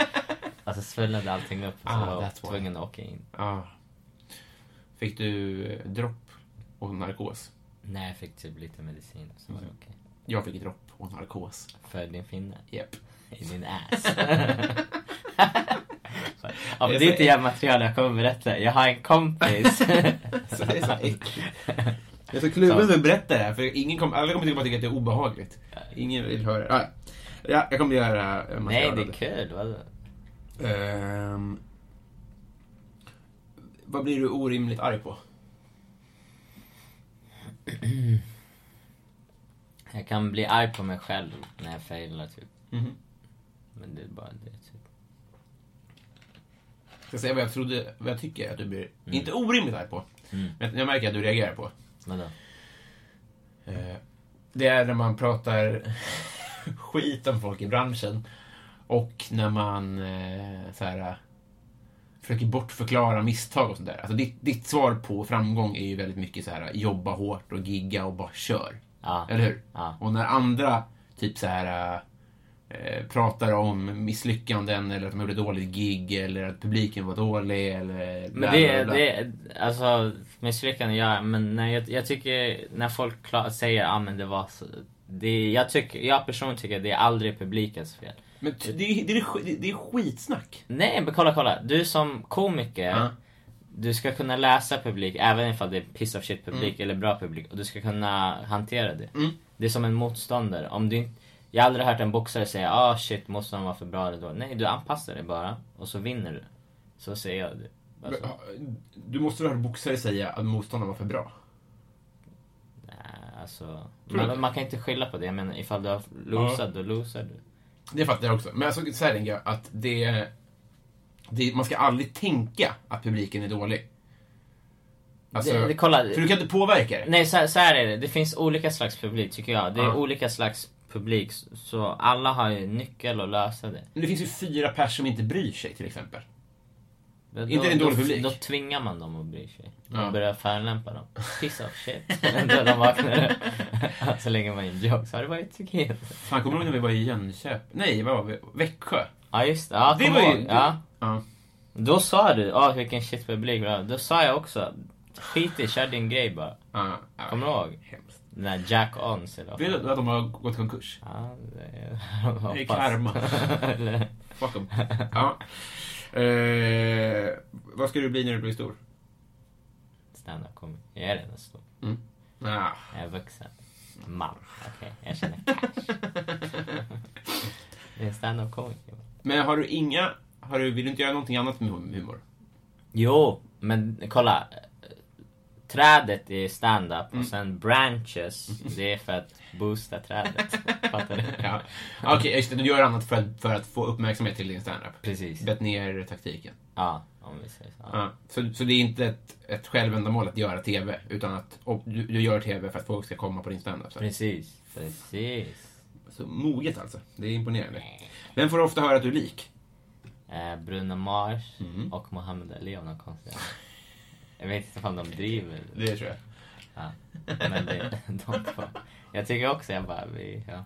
S2: Alltså svullnade allting upp och så
S1: Ah,
S2: var jag
S1: that's why.
S2: tvungen att åka in.
S1: Ja. Fick du eh, dropp och narkos?
S2: Nej jag fick typ lite medicin och så var det okej.
S1: Jag fick dropp och narkos.
S2: För din finne.
S1: Japp.
S2: I din ass.
S1: <laughs>
S2: ja, men det är inte jävla material jag kommer berätta. Jag har en
S1: <laughs>
S2: kompis.
S1: Så det är så äckligt. Jag är så kluven att berätta det här, för ingen kom, alla kommer tycka- bara tycka att det är obehagligt. Ingen vill höra det. Ah, ja. ja, jag kommer göra eh,
S2: Nej
S1: material
S2: det
S1: av
S2: är kul. Vadå?
S1: Ehm, vad blir du orimligt arg på?
S2: Jag kan bli arg på mig själv när jag failar typ.
S1: Mhm.
S2: Men det är bara det typ.
S1: ska säga vad jag trodde, vad jag tycker att du blir, inte orimligt arg på, men jag märker att du reagerar på.
S2: Vadå?
S1: Eh, Det är när man pratar <laughs> skit om folk i branschen och när man eh, så här, eh, försöker bortförklara misstag och sånt där. Alltså ditt, ditt svar på framgång är ju väldigt mycket så här jobba hårt och gigga och bara kör.
S2: Ja.
S1: Eller hur?
S2: Ja.
S1: Och när andra typ så här eh, pratar om misslyckanden eller att de gjorde dåligt gig eller att publiken var dålig eller bla,
S2: Men det,
S1: bla, bla.
S2: det, alltså misslyckande ja, men när jag, jag tycker när folk klar, säger ah, men det var så, det, jag, tycker, jag personligen tycker det är aldrig publikens fel.
S1: Men t- det, är- det, är, sk- det är skitsnack.
S2: Nej men kolla kolla, du som komiker,
S1: Ja.
S2: du ska kunna läsa publik även ifall det är piss of shit publik eller bra publik och du ska kunna hantera det. Det är som en motståndare. Om du, inte- jag har aldrig hört en boxare säga ah shit motståndaren var för bra eller dålig. Nej du anpassar dig bara och så vinner du. Så ser jag det. Alltså,
S1: Du måste väl höra boxare säga att motståndaren var för bra?
S2: Nej, alltså,
S1: Tror du
S2: man,
S1: det?
S2: man kan inte skylla på det. Jag menar, ifall du har losat, då losar du.
S1: Det fattar jag också. Men alltså, så här tänker jag att det, det... Man ska aldrig tänka att publiken är dålig. Alltså,
S2: Det- det- kolla-
S1: för du kan inte påverka det.
S2: Nej, så här, så här är det. Det finns olika slags publik, tycker jag. Det är olika slags publik, så alla har ju nyckel att lösa det.
S1: Men det finns ju fyra pers som inte bryr sig, till exempel.
S2: Då,
S1: Inte en dålig
S2: då,
S1: publik.
S2: Då tvingar man dem att bry sig.
S1: Ja.
S2: Och börjar förolämpa dem. Piss of shit. Då de vaknar <laughs> upp. Så lägger man in jokes. Har det varit okej?
S1: Fan, kommer du ihåg när vi var i Jönköping? Nej, vad var vi? Växjö?
S2: Ja, just det. Ja,
S1: Det
S2: kom
S1: var ju-
S2: ihåg. Ja.
S1: Ja.
S2: Då sa du, ah vilken shit publik. bla. Då sa jag också, skit i, kör din grej bara.
S1: ja, ja.
S2: Kommer du ihåg?
S1: Hemskt.
S2: Den där Jack Ons eller vad
S1: Vet du att de har gått i konkurs?
S2: Ja, <laughs> det
S1: Det är
S2: hoppas.
S1: karma.
S2: <laughs> Eller-
S1: Fuck dem.
S2: <laughs>
S1: ja. eh, vad ska du bli när du blir stor?
S2: Stand-up comedy. Jag är redan stor.
S1: Ah.
S2: Jag är vuxen. Man. Okej, jag känner cash.
S1: <laughs>
S2: det är stand-up comedy.
S1: Men har du inga... Har du, vill du inte göra någonting annat med humor?
S2: Jo, men kolla. Trädet är stand-up
S1: Mm.
S2: och sen branches, det är för att boosta
S1: <laughs>
S2: trädet. Fattar du?
S1: Ja. Okej, just det. Du gör annat för att, för att få uppmärksamhet till din standup.
S2: Precis.
S1: Bett ner taktiken.
S2: Ja, om vi säger så.
S1: Ja. Så, så det är inte ett, ett självändamål att göra TV, utan att och du, du gör TV för att folk ska komma på din standup. Så.
S2: Precis, precis.
S1: så moget alltså. Det är imponerande. Vem får ofta höra att du är lik?
S2: Eh, Bruno Mars
S1: Mm.
S2: och Mohammed Ali av någon konstig anledning. Jag vet inte om de driver.
S1: Det tror jag.
S2: Ja, men det, <laughs> de två. Jag tycker också jag bara, vi, ja.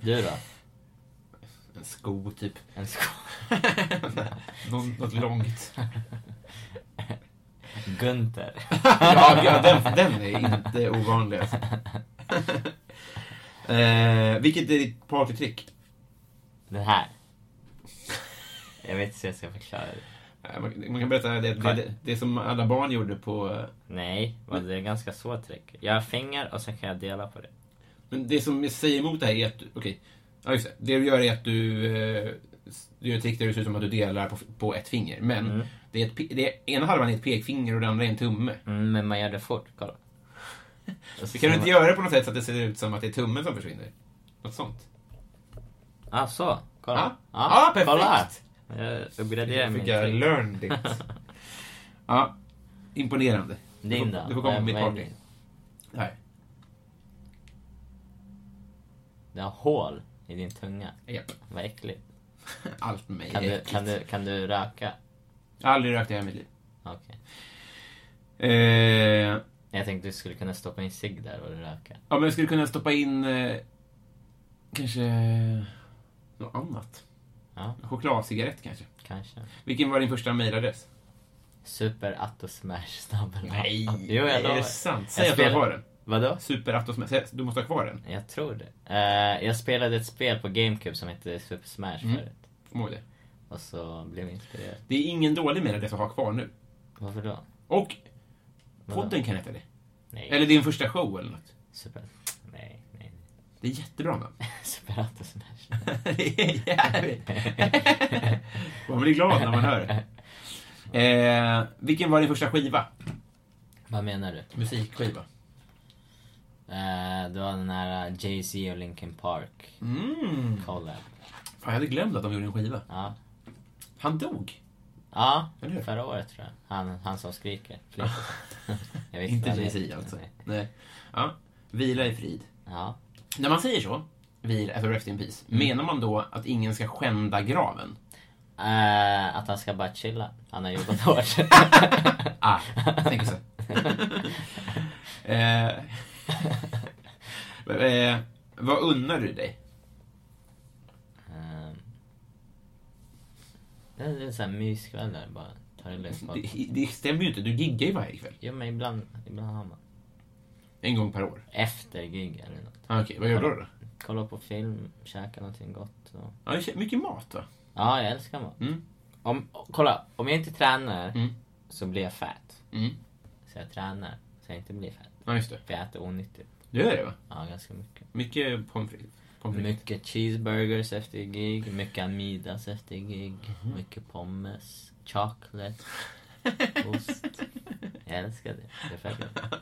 S2: Du då?
S1: En sko, typ. <laughs>
S2: En sko...
S1: Någon, något långt.
S2: Gunther.
S1: <laughs> ja, ja
S2: <laughs>
S1: den, den är inte ovanlig. Alltså. eh, vilket är ditt partytrick?
S2: Den här. Jag vet inte hur jag ska förklara det.
S1: Eh, Man, man kan berätta det, det, det, det som alla barn gjorde på... eh,
S2: Nej, vad det är ganska svårt trick. Jag har fingrar och sen kan jag dela på det.
S1: Men det som jag säger emot det här är att du... Okej. Ja, just det. Det du gör är att du... eh, Du gör ett trick där det ser ut som att du delar på, på ett finger. Men det är ett, pe- det är, ena halvan är ett pekfinger och den andra är en tumme.
S2: Mm, men man gör det fort, kolla. Och
S1: Så
S2: så
S1: kan du
S2: man-
S1: inte göra det på något sätt så att det ser ut som att det är tummen som försvinner? Något sånt.
S2: Ah, så. Kolla.
S1: Ja. Ja, perfekt.
S2: Kolla. Jag uppgraderar
S1: Jag
S2: min
S1: fick jag
S2: trick.
S1: learned it.
S2: <laughs>
S1: ja. Imponerande. Du
S2: Din
S1: får,
S2: då?
S1: du får komma på
S2: Vad-
S1: mitt
S2: vad är
S1: party.
S2: din?
S1: Här.
S2: Det har hål i din tunga.
S1: Japp. <laughs>
S2: Vad äckligt.
S1: Allt med mig
S2: Kan
S1: är
S2: du,
S1: äckligt.
S2: kan du, kan du röka?
S1: Jag har Aldrig rökt i hela mitt liv.
S2: Okej.
S1: Eh,
S2: Jag tänkte du skulle kunna stoppa in cigg där och röka.
S1: Ja, men jag skulle kunna stoppa in eh, kanske något annat.
S2: Ja.
S1: En Chokladcigarett kanske.
S2: Kanske.
S1: Vilken var din första mailadress?
S2: Superattosmash-snabel. Jo, jag
S1: Är
S2: lovar.
S1: det sant? Säg
S2: Jag
S1: att du har
S2: spelar-
S1: kvar den.
S2: Vadå?
S1: Superattos med. Säg- Du måste ha kvar den.
S2: Jag tror det. Eh, jag spelade ett spel på GameCube som hette Super Smash
S1: Mm.
S2: förut.
S1: Kom ihåg det.
S2: Och så blev jag inspirerad.
S1: Det är ingen dålig mailadress att ha kvar nu.
S2: Varför då?
S1: Och podden kan heta det.
S2: Nej.
S1: Eller din första show eller något.
S2: Super... Nej, nej. <laughs>
S1: Det är jättebra namn.
S2: Superattosmash.
S1: <laughs> Det är jävligt. man blir glad när man hör det. Eh, vilken var din första skiva?
S2: Vad menar du?
S1: Musikskiva.
S2: Eh, det var den här eh, Jay-Z och Linkin Park
S1: Mm.
S2: collab.
S1: Fan, jag hade glömt att de gjorde en skiva.
S2: Ja.
S1: Han dog.
S2: Ja,
S1: Eller hur?
S2: förra året tror jag. Han, han som skriker. Fler. <laughs> jag visste
S1: Inte
S2: aldrig.
S1: Jay-Z alltså.
S2: Nej.
S1: Nej. Ja. Vila i frid.
S2: Ja.
S1: När man säger så, vila, alltså rest in peace, menar man då att ingen ska skända graven?
S2: Eh, att han ska bara chilla. Han
S1: <laughs>
S2: har jobbat hårt.
S1: Ah, tänker <laughs> så. eh, eh, vad unnar du dig?
S2: Ehm. det är en sån här myskväll där bara. Ta det
S1: <laughs>
S2: lugnt. bara.
S1: Det, det stämmer ju inte, du giggar ju varje kväll.
S2: Jo men ibland, ibland har man.
S1: En gång per år.
S2: Efter gig eller något.
S1: Ah, Okej, vad gör du då?
S2: Kolla på film, käka någonting gott. Och...
S1: Ja, det är mycket mat va?
S2: Ja, jag älskar mat.
S1: Mm.
S2: Om, kolla, om jag inte tränar
S1: Mm.
S2: så blir jag fett.
S1: Mm.
S2: Så jag tränar så jag inte blir fett.
S1: Ja, just det.
S2: För jag äter onyttigt.
S1: Du gör det va?
S2: Ja, ganska mycket.
S1: Mycket pommes frites. Pommes frites.
S2: Mycket cheeseburgers efter gig, mycket amidas efter gig, mycket pommes, chocolate, ost. Jag älskar det. Det är fett gott.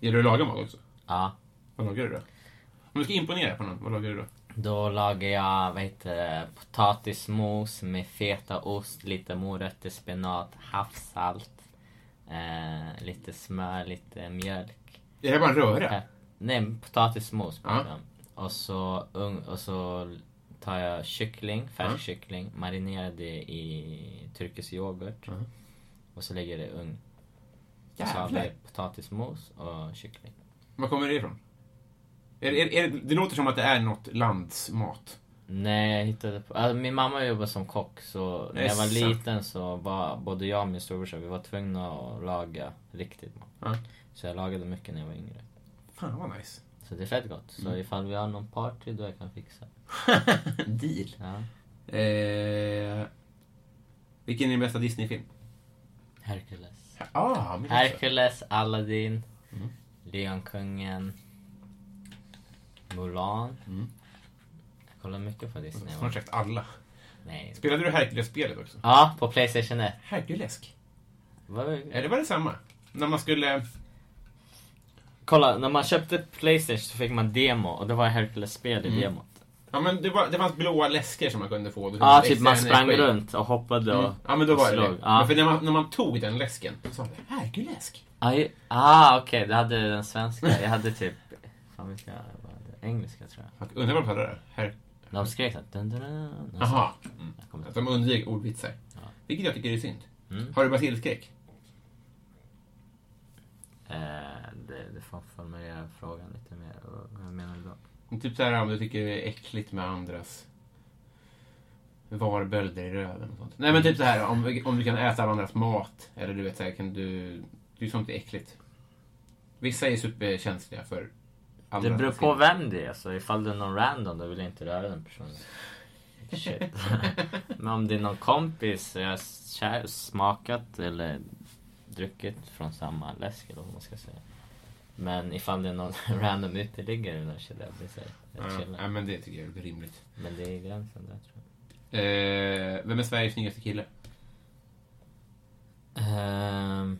S1: Gillar du att laga mat också?
S2: Ja,
S1: Vad lagar du då? Om du ska imponera på någon, vad lagar du då?
S2: då lagar jag, vad heter det, potatismos med fetaost, lite morötter, spenat, havssalt, eh, lite smör, lite mjölk.
S1: Är det bara en röra?
S2: Pepp- Nej, potatismos.
S1: Ja.
S2: pratar jag om. Och, så, ung- och så tar jag kyckling, färsk
S1: Ja.
S2: kyckling, marinerar det i turkisk yoghurt.
S1: Ja.
S2: Och så lägger jag det i ugn. Och Så har vi
S1: Jävlar!
S2: potatismos och kyckling.
S1: Var kommer det ifrån? Är, är, är, det låter som att det är något landsmat.
S2: Nej, jag hittade på... Alltså, min mamma jobbade som kock så när jag var
S1: Essa.
S2: liten så var både jag och min storebrorsa, vi var tvungna att laga riktigt mat.
S1: Ja.
S2: Så jag lagade mycket när jag var yngre.
S1: Fan vad nice.
S2: Så det är fett gott.
S1: Mm.
S2: Så ifall vi har någon party då jag kan fixa.
S1: <laughs> Deal.
S2: Ja.
S1: Eh, vilken är din bästa Disney-film?
S2: Hercules.
S1: Ah, men också.
S2: Hercules, Aladdin,
S1: Mm.
S2: Lejonkungen, Mulan. Jag kollar mycket på Disney. va?
S1: Mm. Snart sagt alla.
S2: Nej.
S1: Spelade du Hercules-spelet också?
S2: Ja, på Playstation 1.
S1: Herculesk?
S2: Vad-
S1: Eller var det samma? När man skulle...
S2: Kolla, när man köpte Playstation så fick man demo och det var Hercules-spel i
S1: Mm.
S2: demot.
S1: Ja, men det, var, det fanns blåa läskor som man kunde få. Då
S2: Ja,
S1: fick
S2: typ man
S1: extra
S2: sprang
S1: energi.
S2: runt och hoppade och
S1: Mm. Ja, men då
S2: och
S1: var det
S2: slog.
S1: det.
S2: Ja.
S1: Men för när man, när man tog den läsken, så sa det Herculesk.
S2: Ah, ju- ah okej, du hade den svenska. Jag hade typ... Fan, vilka... Vad hade jag? Engelska tror jag.
S1: Fuck, Undrar vad de hade där? Her-
S2: De skrek såhär... dun, dun, dun, dun.
S1: Jaha.
S2: Jag kommer
S1: Att
S2: inte-
S1: de undvek ordvitsar. Vilket jag tycker är synd.
S2: Mm.
S1: Har du basilskräck?
S2: Eh, det, det får formulera frågan lite mer. Vad- Vad menar du då?
S1: Typ så här om du tycker det är äckligt med andras varbölder i röven och sånt. Nej men typ så här om, om du kan äta av andras mat. Eller du vet så här, kan du... Du sånt är äckligt. Vissa är superkänsliga för andra.
S2: Det beror på vem det är. Så ifall det är någon random då vill jag inte röra den personen. Shit. Men om det är någon kompis jag har kär, smakat eller druckit från samma läsk eller vad man ska säga. Men ifall det är någon <laughs> random uteliggare då känner jag blir så här, jag
S1: Ja,
S2: chillar.
S1: ja, men det tycker jag är rimligt.
S2: Men det är gränsen där tror jag.
S1: Eh, vem är Sveriges snyggaste kille?
S2: Ehm.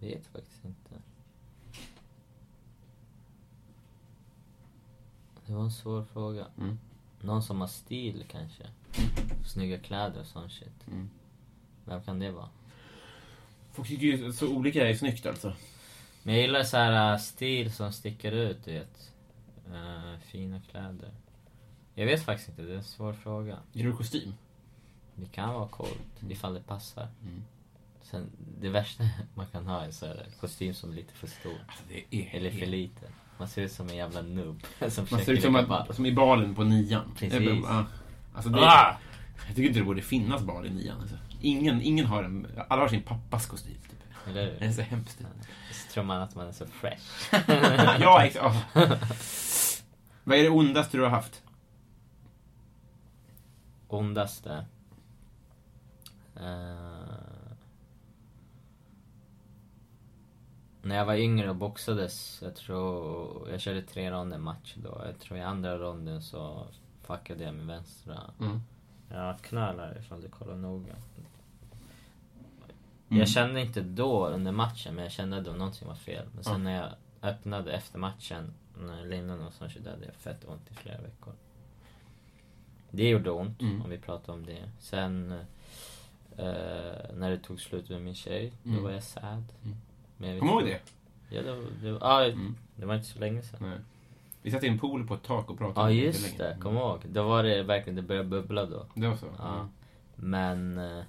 S2: Vet faktiskt inte. Det var en svår fråga.
S1: Mm.
S2: Någon som har stil kanske. Snygga kläder och sån shit.
S1: Mm.
S2: Vem kan det vara?
S1: Folk tycker ju så olika är snyggt alltså.
S2: Men jag gillar så här äh, stil som sticker ut, du vet. Eh, fina kläder. Jag vet faktiskt inte, det är en svår fråga.
S1: Gillar du kostym?
S2: Det kan vara coolt ifall det passar.
S1: Mm.
S2: Sen, det värsta <laughs> man kan ha är så här, kostym som är lite för stor.
S1: Det är
S2: Alltså, Eller för liten. Man ser ut som en jävla nubb. <laughs> Som
S1: Man ser ut
S2: försöker
S1: som,
S2: leka ball.
S1: att, som i balen på nian.
S2: Precis.
S1: Det är bara- ja. Alltså det,
S2: Ah!
S1: Jag tycker inte det borde finnas bal i nian. Alltså. Ingen, ingen har en, alla har sin pappas kostym. Typ.
S2: Eller
S1: Det är
S2: hur?
S1: så hemskt.
S2: Så tror man att man är så fresh.
S1: <laughs> ja, ex- ja. Vad är det ondaste du har haft?
S2: Ondaste. Eh, när jag var yngre och boxades, jag tror... Jag körde tre ronder match då. Jag tror i andra ronden så fuckade jag min vänstra
S1: Mm.
S2: Ja, knölar ifall du kollar noga.
S1: Mm.
S2: Jag kände inte då under matchen, men jag kände att det var någonting var fel. Men sen när jag öppnade efter matchen, när jag lindade och sånt, så hade jag fett ont i flera veckor. Det gjorde ont,
S1: Mm.
S2: om vi pratar om det. Sen eh, när det tog slut med min tjej, då
S1: Mm.
S2: var jag sad.
S1: Mm.
S2: Men jag vet
S1: Kommer du ihåg
S2: inte-
S1: det?
S2: Ja, det, var- det, var- ah,
S1: Mm.
S2: det var inte så länge sedan.
S1: Nej. Vi satt i en pool på ett tak och pratade
S2: Ja
S1: om det
S2: just
S1: länge.
S2: det, kom ihåg. Då var det verkligen, det började bubbla då.
S1: Det var så?
S2: Ja. Men eh,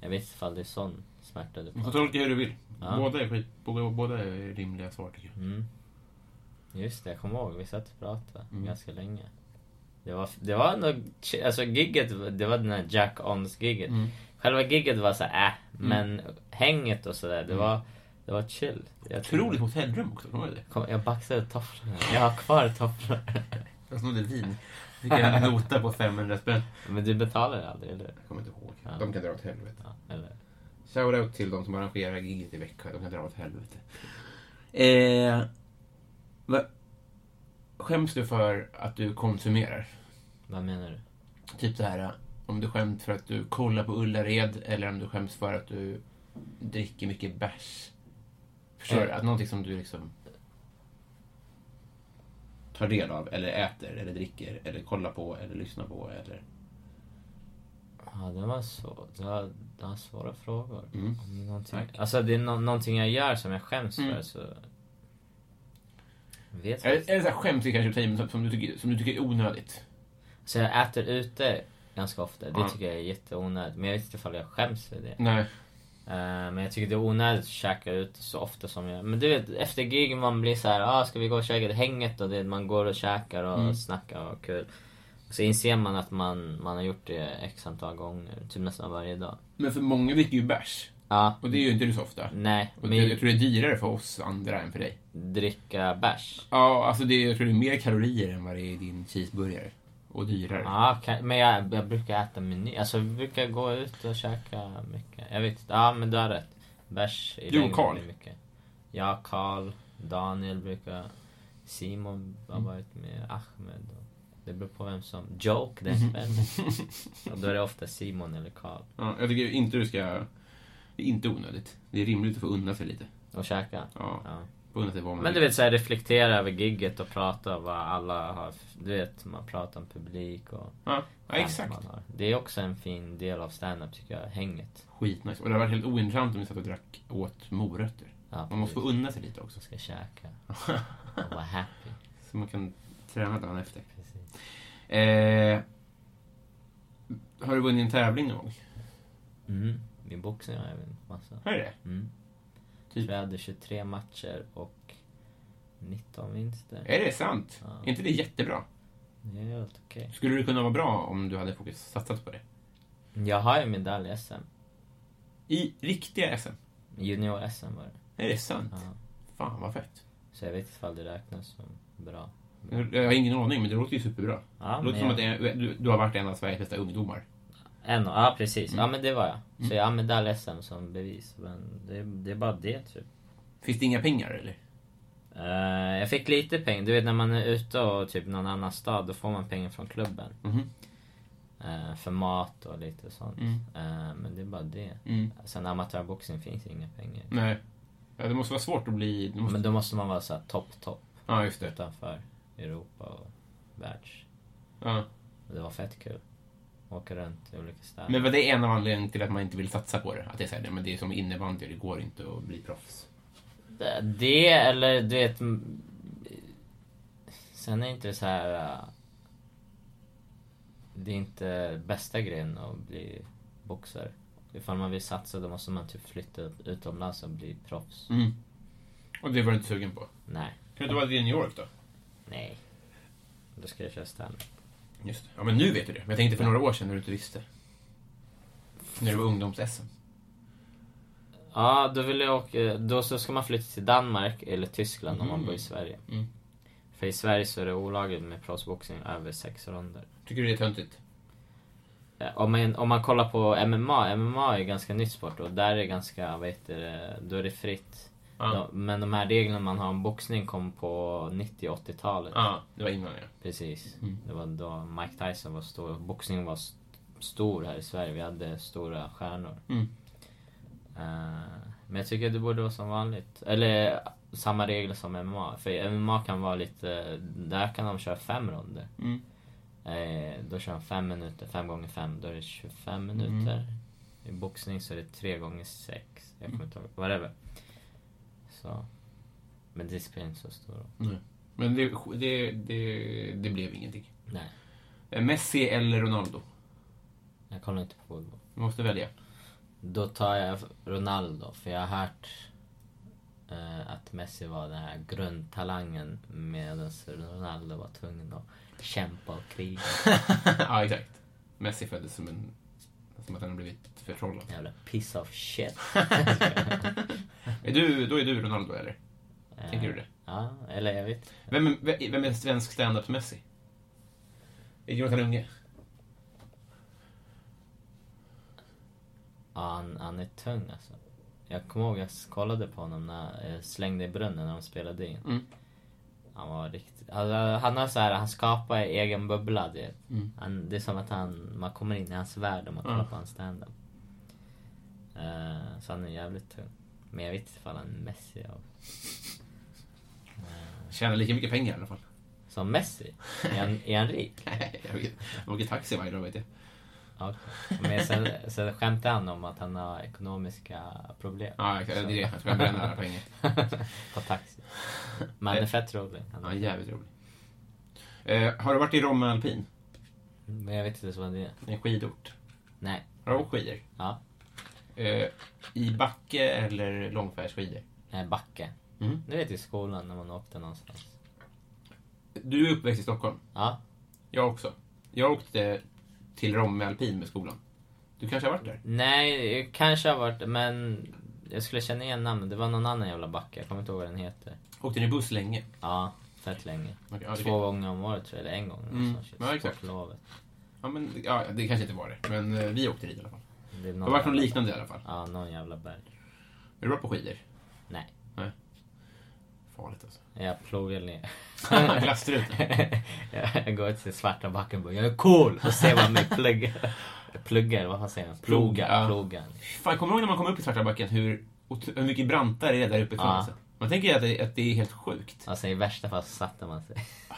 S2: jag vet inte ifall det är sån smärta du
S1: Du får
S2: pratar om.
S1: tolka hur du vill.
S2: Ja.
S1: Båda, är skit, båda, båda är rimliga svar tycker jag.
S2: Mm. Just det, jag kommer ihåg. Vi satt och pratade
S1: Mm.
S2: ganska länge. Det var, det var ändå, alltså gigget, det var den här Jack Ons gigget.
S1: Mm.
S2: Själva gigget var så här, äh, men hänget och sådär, det var, det var chill. Jag
S1: Mm. Otroligt hotellrum också, kommer du ihåg det?
S2: Kom, jag baxade tofflorna. Jag har kvar tofflorna.
S1: Jag snodde vin. Fick en nota på 500 spänn.
S2: <laughs> Men du betalade aldrig, eller hur?
S1: Jag kommer inte ihåg.
S2: Ja.
S1: De kan dra åt helvete.
S2: Ja, eller?
S1: Shoutout till de som arrangerar giget i Växjö. De kan dra åt helvete. Eh, va, skäms du för att du konsumerar?
S2: Vad menar du?
S1: Typ så här, om du skäms för att du kollar på Ullared eller om du skäms för att du dricker mycket bärs. Förstår du?
S2: Eh.
S1: Att någonting som du liksom tar del av eller äter eller dricker eller kollar på eller lyssnar på eller...
S2: Ja, det var så. Det var, det var svåra frågor.
S1: Mm.
S2: Om det är någonting,
S1: Tack.
S2: alltså det är no- någonting jag gör som jag skäms
S1: Mm.
S2: för så... Jag Vet
S1: Eller,
S2: faktiskt.
S1: eller så här skäms är kanske att ta i, men som, som, du tycker, som du tycker är onödigt.
S2: Så jag äter ute ganska ofta. Det
S1: Ja.
S2: tycker jag är jätteonödigt. Men jag vet inte ifall jag skäms för det.
S1: Nej.
S2: Eh, men jag tycker det är onödigt att käka ute så ofta som jag... Men du vet, efter gig man blir så här, ah, ska vi gå och käka? Det hänget och det, man går och käkar och
S1: Mm.
S2: snackar och kul. Så inser man att man, man har gjort det x antal gånger. Typ nästan varje dag.
S1: Men för många dricker ju bärs.
S2: Ja.
S1: Och det gör ju inte du så ofta.
S2: Nej,
S1: Mm. Och det, jag
S2: men
S1: tror det är dyrare för oss andra än för dig.
S2: dricka bärs.
S1: Ja, alltså det, jag tror det är mer kalorier än vad det är i din cheeseburgare. Och dyrare.
S2: Ja, ka- men jag, jag brukar äta meny. Alltså vi brukar gå ut och käka mycket. Jag vet inte. Ja, men du har rätt. Bärs i
S1: Du och
S2: längden
S1: Carl.
S2: blir mycket. Ja, Karl, Daniel brukar... Simon har
S1: Mm.
S2: varit med, Ahmed. Och det beror på vem som... Joke
S1: Mm. <laughs>
S2: den kvällen. Och då är det ofta Simon eller Karl.
S1: Ja, jag tycker inte du ska... Det är inte onödigt. Det är rimligt att få unna sig lite.
S2: Och käka.
S1: Ja.
S2: Ja.
S1: Få unna sig vad man
S2: Men du
S1: vill.
S2: vet såhär reflektera över gigget och prata vad alla har... f- Du vet, man pratar om publik och...
S1: Ja, ja exakt.
S2: man har. Det är också en fin del av stand-up tycker jag, hänget.
S1: Skitnice. Och det hade varit helt ointressant om vi satt och drack åt morötter.
S2: Ja,
S1: Man måste få
S2: precis.
S1: unna sig lite också.
S2: Jag
S1: <laughs>
S2: ska käka och vara happy.
S1: Så man kan träna dagen efter.
S2: Precis.
S1: Eh, har du vunnit en tävling någon gång?
S2: Mm. Min boxning har jag vunnit massa.
S1: Har du det?
S2: Mm.
S1: Typ.
S2: Typ. Jag hade 23 matcher och 19 vinster.
S1: Är det sant?
S2: Ja.
S1: Är inte det jättebra?
S2: Det är helt okej.
S1: Skulle det kunna vara bra om du hade fokus, satsat på det?
S2: Jag har ju medalj i SM.
S1: I riktiga SM?
S2: Junior-SM var det.
S1: Är det sant?
S2: Ja.
S1: Fan vad fett.
S2: Så jag vet inte ifall det räknas som bra.
S1: Jag har ingen aning men det låter ju superbra.
S2: Ja,
S1: det låter
S2: men
S1: som
S2: jag-
S1: att det är, du, du har varit en av Sveriges bästa ungdomar.
S2: En, ja, precis.
S1: Mm.
S2: Ja, men det var jag. Så jag har medalj i SM som bevis. Men det, det är bara det, typ.
S1: Finns det inga pengar eller?
S2: Eh, jag fick lite pengar. Du vet när man är ute och typ någon annan stad, då får man pengar från klubben.
S1: Mhm.
S2: Eh, för mat och lite sånt.
S1: Mm.
S2: Eh, men det är bara det.
S1: Mm.
S2: Sen amatörboxning finns inga pengar.
S1: Nej. Ja, det måste vara svårt att bli... Det måste...
S2: Men då måste man vara så här topp, topp
S1: Ja, just det.
S2: utanför Europa och världs.
S1: Ja.
S2: Och Det var fett kul. Åka runt i olika städer.
S1: Men var det en av anledningarna till att man inte vill satsa på det? Att det är så här, nej, men det är som innebandy, det går inte att bli proffs.
S2: Det- Det eller du vet... m- Sen är inte det så här... äh, Det är inte bästa grejen att bli boxare. Ifall man vill satsa då måste man typ flytta utomlands och bli proffs.
S1: Mm. Och det var du inte sugen på?
S2: Nej.
S1: Kan du inte vara det i New York då?
S2: Nej. Då ska jag köra stand
S1: Just det. Ja, men nu vet du det. Men jag tänkte för några år sedan när du inte visste. När det var ungdoms-SM.
S2: Ja, då vill jag åka, då så ska man flytta till Danmark eller Tyskland om man bor i Sverige.
S1: Mm.
S2: För i Sverige så är det olagligt med proffsboxning över sex ronder.
S1: Tycker du det är töntigt?
S2: Eh, Om man, om man kollar på MMA, MMA är ganska nytt sport och där är det ganska, vad heter det, då är det fritt.
S1: Ja.
S2: De- Men de här reglerna man har om boxning kom på 90 och 80-talet.
S1: Ja, det var innan ja.
S2: Precis.
S1: Mm.
S2: Det var då Mike Tyson var stor. Boxning var st- stor här i Sverige. Vi hade stora stjärnor.
S1: Mm.
S2: Eh, men jag tycker det borde vara som vanligt. Eller eh, samma regler som MMA. För MMA kan vara lite... Där kan de köra fem ronder.
S1: Mm.
S2: Eh, då kör han fem minuter, fem gånger fem, då är det 25
S1: Mm.
S2: minuter. I boxning så är det tre gånger sex. Jag
S1: Mm.
S2: kommer inte ihåg, whatever. Så. Men det spelar inte så stor roll.
S1: Nej. Men det, det, det, det blev ingenting.
S2: Nej,
S1: Eh, Messi eller Ronaldo?
S2: jag kollar inte på fotboll.
S1: Du måste välja.
S2: Då tar jag Ronaldo, för jag har hört eh, att Messi var den här grundtalangen medan Ronaldo var tvungen att kämpa och kriga.
S1: ja, exakt. Messi föddes som en... Som att han har blivit förtrollad.
S2: Jävla piece
S1: <laughs>
S2: of shit.
S1: Är du, då är du Ronaldo, eller? Tänker du det?
S2: Eh, Ja, eller jag vet
S1: Vem, vem vem är svensk stand-up Messi? Är det Jonathan Unge?
S2: ja, han, han är tung alltså. Jag kommer ihåg jag kollade på honom när jag slängde i brunnen när de spelade in.
S1: Mm.
S2: Han var riktigt... Alltså, han har så här, han skapar egen bubbla du vet. Han, det är som att han, man kommer in i hans värld om man kollar
S1: Mm. Ja.
S2: på hans standup. Eh, så han är jävligt tung. Men jag vet inte ifall han är Messi av...
S1: Tjänar lika mycket pengar i alla fall. <laughs>
S2: Som Messi? Är han, är han rik?
S1: jag vet. Jag åker taxi varje dag, vet jag.
S2: Ja, okej. Men sen, sen skämtar han om att han har ekonomiska problem.
S1: Ja, exakt. Det är det. Jag tror jag bränner alla pengar.
S2: <laughs> på taxi. Men han är fett rolig. Han
S1: Ja,
S2: är,
S1: jävligt rolig. Eh, har du varit i Romme Alpin?
S2: men jag vet inte ens vad det är.
S1: En skidort.
S2: Nej.
S1: Har du åkt skidor?
S2: Ja.
S1: Eh, I backe eller långfärdsskidor?
S2: Nej, backe.
S1: Mm.
S2: Du vet i skolan när man åkte någonstans.
S1: Du är uppväxt i Stockholm.
S2: Ja.
S1: Jag också. Jag åkte till Romme Alpin med skolan. Du kanske har varit där?
S2: Nej, jag kanske har varit men jag skulle känna igen namnet. Det var någon annan jävla backe. Jag kommer inte ihåg vad den heter.
S1: Åkte ni buss länge?
S2: Ja, fett länge.
S1: Okej, ja, det
S2: Två
S1: kan-
S2: gånger om året tror jag, eller en gång.
S1: Mm.
S2: eller så, shit,
S1: Ja, exakt.
S2: sportlovet.
S1: Ja, men, ja, det kanske inte var det. Men eh, vi åkte dit i alla fall.
S2: Det, är
S1: Det
S2: någon
S1: har varit något
S2: jävla-
S1: liknande i alla fall.
S2: Ja, någon jävla berg.
S1: Är du bra på skidor?
S2: Nej,
S1: Farligt <laughs> alltså.
S2: jag
S1: <laughs>
S2: plogar ner.
S1: Glasstruten.
S2: jag går till svarta backen och bara, jag är cool! Och ser man mig plugga. Pluggar, vad fan säger man?
S1: Ploga.
S2: Plogar, plogar.
S1: Fan, kommer du ihåg när man kom upp i Svarta backen hur, otro- hur mycket brantare det är där uppe?
S2: Ja.
S1: Ja. Man tänker ju att det, att det är helt sjukt.
S2: Alltså i värsta fall så satte man sig.
S1: Ah,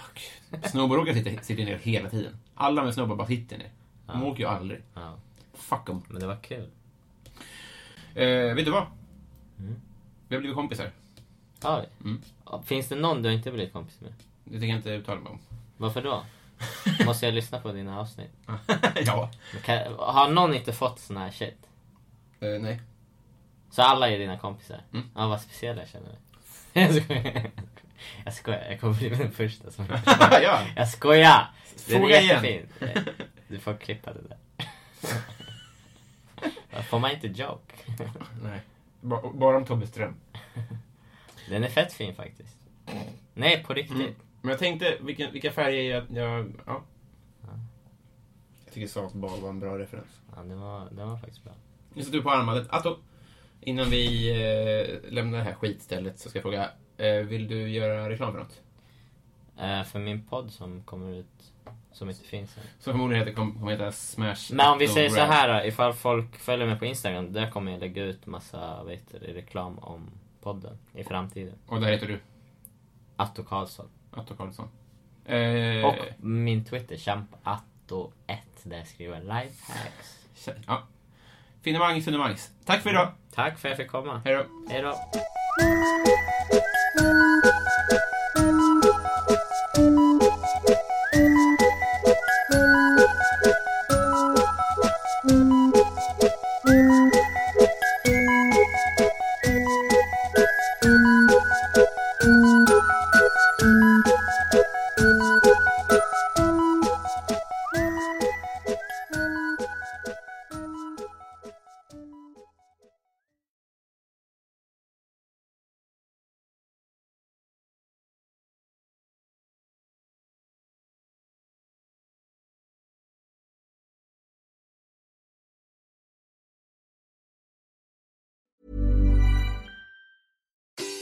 S1: gud. Snowboardåkare sitter, sitter ner hela tiden. Alla med snowboard bara sitter ner. De åker ju aldrig.
S2: Ja,
S1: Fuck dem.
S2: men det var kul.
S1: Eh, vet du vad?
S2: Mm.
S1: Vi har blivit kompisar.
S2: Oj.
S1: Mm.
S2: Ja, Finns det någon du inte blivit kompis med?
S1: Det tänker jag inte uttala mig om.
S2: Varför då? Måste jag lyssna på dina avsnitt?
S1: <laughs> ja.
S2: Men Kan, har någon inte fått sån här shit?
S1: Eh,
S2: <laughs>
S1: nej.
S2: Så alla är dina kompisar?
S1: Mm.
S2: Ja, vad speciella jag känner mig. <laughs> Jag skojar. Jag skojar, jag kommer bli den första som... <laughs>
S1: ja.
S2: Jag skojar! Den är
S1: Fråga igen.
S2: jättefin. Du får klippa det
S1: <laughs>
S2: där. Får man inte joke?
S1: Nej. Ba- bara om Tobbe Ström.
S2: Den är fett fin faktiskt. Nej, på riktigt.
S1: Men jag tänkte, vilka, vilka färger jag... jag ja. Jag tycker sakbal var en bra referens.
S2: Ja, den var, den var faktiskt bra.
S1: Nu sätter du på armbandet. Atto, innan vi eh, lämnar det här skitstället så ska jag fråga. Eh, vill du göra reklam för något?
S2: Eh, för min podd som kommer ut, som inte finns än.
S1: Som förmodligen heter, kom- kommer heta Smash
S2: Men om vi
S1: Atto
S2: säger så
S1: Rap.
S2: här då, ifall folk följer mig på Instagram, där kommer jag lägga ut massa vet, du, reklam om podden i framtiden.
S1: Och där heter du
S2: Atto Karlsson.
S1: Atto Karlsson. Eh,
S2: Och min Twitter, champ atto1, där jag skriver lifehacks.
S1: tja- ja. Finemangs, finemangs. Tack för idag.
S2: Tack för att jag fick komma.
S1: Hej då.
S2: Hej då.